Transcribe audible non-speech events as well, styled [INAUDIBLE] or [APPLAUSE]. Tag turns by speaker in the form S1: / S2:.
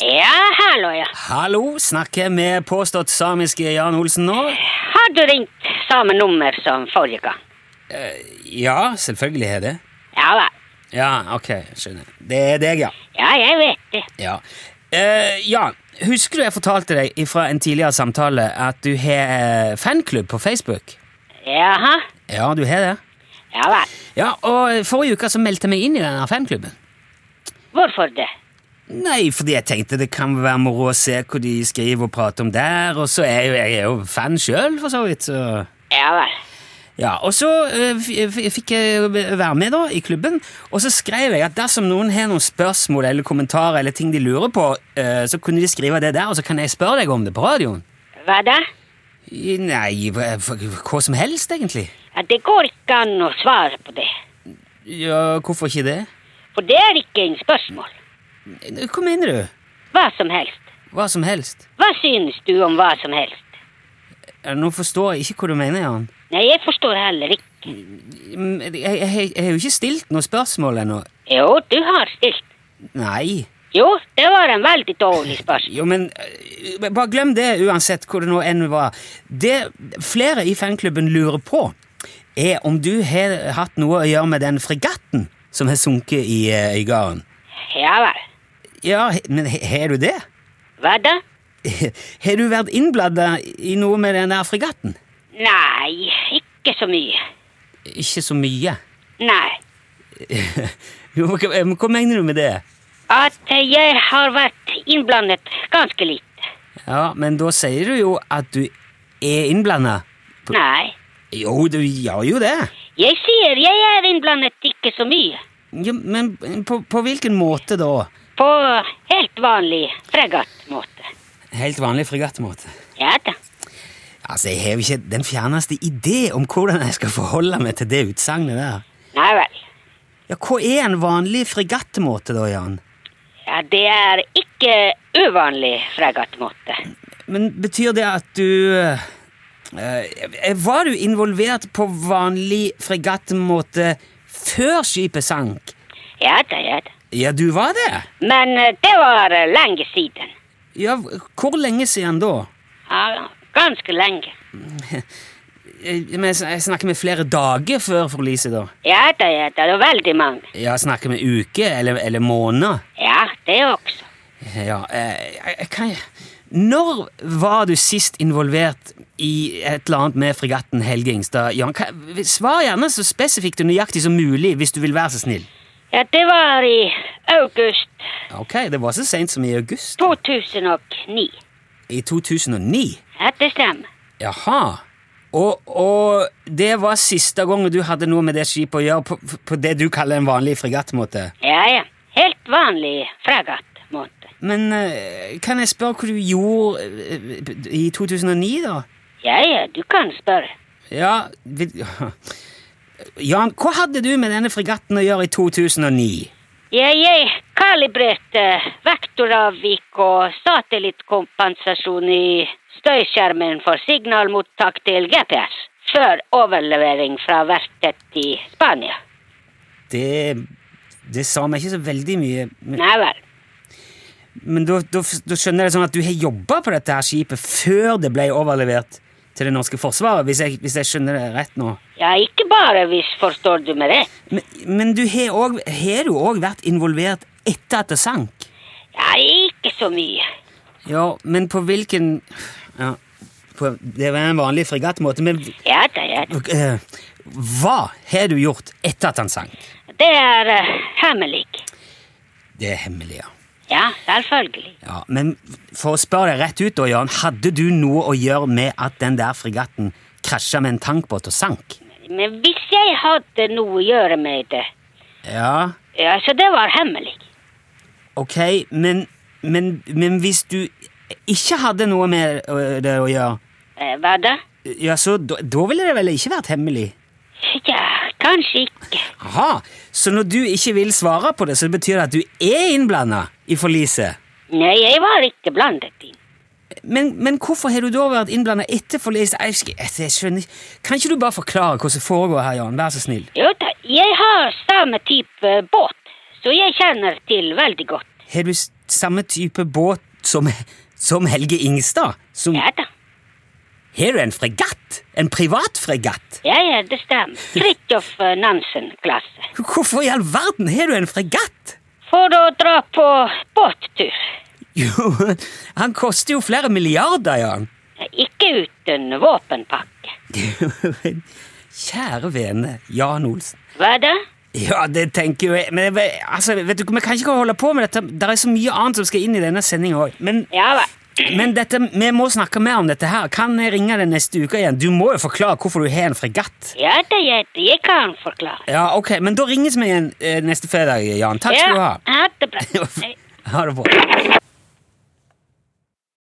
S1: Ja, hallo, ja.
S2: Hallo, snakker jeg med påstått samiske Jan Olsen nå?
S1: Har du ringt samme nummer som forrige gang?
S2: Ja, selvfølgelig er det.
S1: Ja vel.
S2: Ja, ok, skjønner. Det er deg, ja.
S1: Ja, jeg vet det.
S2: Ja. Eh, Jan, husker du jeg fortalte deg fra en tidligere samtale at du har eh, fanklubb på Facebook?
S1: Jaha.
S2: Ja, du har det.
S1: Ja vel.
S2: Ja, og forrige uke så meldte jeg meg inn i denne fanklubben.
S1: Hvorfor det?
S2: Nei, fordi jeg tenkte det kan være moro å se hva de skriver og prater om der, og så er jo jeg er jo fan sjøl, for så vidt. så...
S1: Ja vel.
S2: Ja, og så eh, f- f- fikk jeg være med da i klubben, og så skrev jeg at dersom noen har noen spørsmål eller kommentarer eller ting de lurer på, eh, så kunne de skrive det der, og så kan jeg spørre deg om det på radioen.
S1: Hva da?
S2: I- Nei, hva hva som helst, egentlig.
S1: Ja, det går ikke an å svare på det.
S2: Ja, hvorfor ikke det?
S1: For det er ikke en spørsmål.
S2: Hva mener du?
S1: Hva som helst.
S2: Hva som helst?
S1: Hva synes du om hva som helst?
S2: Eh, Nå forstår jeg ikke hva du mener, Jan.
S1: Nei, jeg forstår heller ikke.
S2: Mm, Jeg, jeg, jeg, jeg har jo ikke stilt noe spørsmål ennå.
S1: Jo, du har stilt.
S2: Nei.
S1: Jo, det var en veldig dårlig spørsmål.
S2: Jo, men eh, bare glem det uansett hvor det nå enn var. Det flere i fanklubben lurer på, er om du har hatt noe å gjøre med den fregatten som har sunket i eh, Øygarden.
S1: Ja vel.
S2: Ja, he- men he- har du det? [LAUGHS]
S1: Hva da?
S2: Har du vært innblanda i noe med den der fregatten?
S1: Nei, ikke så mye.
S2: Ikke så mye.
S1: Nei.
S2: [LAUGHS] Jo, hva, eh, men hva mener du med det?
S1: At jeg har vært innblandet ganske lite.
S2: Ja, men da sier du jo at du er innblanda.
S1: Nei.
S2: Jo, du gjør jo det.
S1: Jeg sier jeg er innblandet ikke så mye.
S2: Jo, men på, på hvilken måte da?
S1: På helt vanlig fregattmåte.
S2: Helt vanlig fregattmåte.
S1: Ja da.
S2: Altså, Jeg har jo ikke den fjerneste idé om hvordan jeg skal forholde meg til det utsagnet der.
S1: Nei vel.
S2: Ja, Hva er en vanlig fregattmåte, da, Jan?
S1: Ja, det er ikke uvanlig fregattmåte.
S2: Men betyr det at du eh, Var du involvert på vanlig fregattmåte før skipet sank?
S1: Ja da, ja da.
S2: Ja, du var det?
S1: Men eh, det var eh, lenge siden.
S2: Ja, Hvor lenge siden da?
S1: Ja, ganske lenge.
S2: Eh, men Jeg sn- jeg snakker med flere dager før forliset, da.
S1: Ja da, ja da. Det var veldig mange.
S2: Ja, Snakker med uker eller, eller måneder.
S1: Ja, det også.
S2: Ja, eh, jeg, jeg kan Når var du sist involvert i et eller annet med fregatten Helge Ingstad? Jan, Hva- svar gjerne så spesifikt og nøyaktig som mulig, hvis du vil være så snill.
S1: Ja, det var i august
S2: Ok, Det var så seint som i august.
S1: 2009.
S2: I 2009.
S1: Ja, det stemmer.
S2: Jaha. Og, og det var siste gangen du hadde noe med det skipet å gjøre på, på det du kaller en vanlig fregattmåte?
S1: Ja, ja. Helt vanlig fregattmåte.
S2: Men eh, kan jeg spørre hva du gjorde eh, i 2009, da?
S1: Ja, ja, du kan spørre.
S2: Ja, vi, Jan, hva hadde du med denne fregatten å gjøre i 2009?
S1: Ja, jeg kalibrerte vektoravvik og satellittkompensasjon i støyskjermen for signalmottak til GPS før overlevering fra verftet i Spania.
S2: Det, det sa meg ikke så veldig mye, men,
S1: Nei vel.
S2: men da, da, da skjønner jeg det sånn at du har jobba på dette her skipet før det ble overlevert til det norske forsvaret, hvis jeg, hvis jeg skjønner det rett nå.
S1: Ja, ikke bare hvis forstår du meg rett.
S2: Men, men du har òg- har du òg vært involvert etter at det sank?
S1: Ja, ikke så mye.
S2: Ja, men på hvilken ja, på, Det var en vanlig fregattmåte, men
S1: Ja da, ja da.
S2: eh, Hva har du gjort etter at han sank?
S1: Det er eh, hemmelig.
S2: Det er hemmelig, ja.
S1: Ja, selvfølgelig.
S2: ja. Men for å spørre deg rett ut, da, Jan, hadde du noe å gjøre med at den der fregatten krasja med en tankbåt og sank?
S1: Men hvis jeg hadde noe å gjøre med det,
S2: Ja,
S1: ja, så det var hemmelig.
S2: ok, men, men, men hvis du ikke hadde noe med ø, det å gjøre,
S1: Eh, Hva da?
S2: ja, så da da ville det vel ikke vært hemmelig?
S1: Ja, kanskje ikke.
S2: Aha, så når du ikke vil svare på det, så betyr det at du er innblanda i forliset?
S1: Nei, jeg var ikke blandet inn.
S2: Men, men hvorfor har du da vært innblanda etter forliset? Jeg, sk- jeg skjønner ikke. Kan ikke du bare forklare hva som foregår her, Jan? Vær så snill.
S1: Jo da, jeg har samme type båt, så jeg kjenner til veldig godt.
S2: Har du s- samme type båt som, som Helge Ingstad? Som,
S1: Ja da.
S2: Har du en fregatt? En privatfregatt?
S1: Ja, ja, det stemmer. Fridtjof eh, Nansen-klasse.
S2: Hvorfor i all verden har du en fregatt?
S1: For å dra på båttur.
S2: Jo, han koster jo flere milliarder, Jan.
S1: Ikke uten våpenpakke.
S2: [LAUGHS] Kjære vene, Jan Olsen.
S1: Hva da?
S2: Ja, det tenker jo jeg. Men jeg vet- altså, vet du, vi kan ikke holde på med dette. Det er så mye annet som skal inn i denne sendinga òg. Men,
S1: Ja vel.
S2: men dette, vi må snakke mer om dette her. Kan jeg ringe deg neste uke igjen? Du må jo forklare hvorfor du har en fregatt.
S1: Ja da, ja, da, jeg kan forklare.
S2: Ja, ok, Men da ringes vi igjen eh, neste fredag, Jan. Takk skal du [LAUGHS]
S1: Ja,
S2: ha.
S1: ha det bra. Hei.
S2: Ha det bra.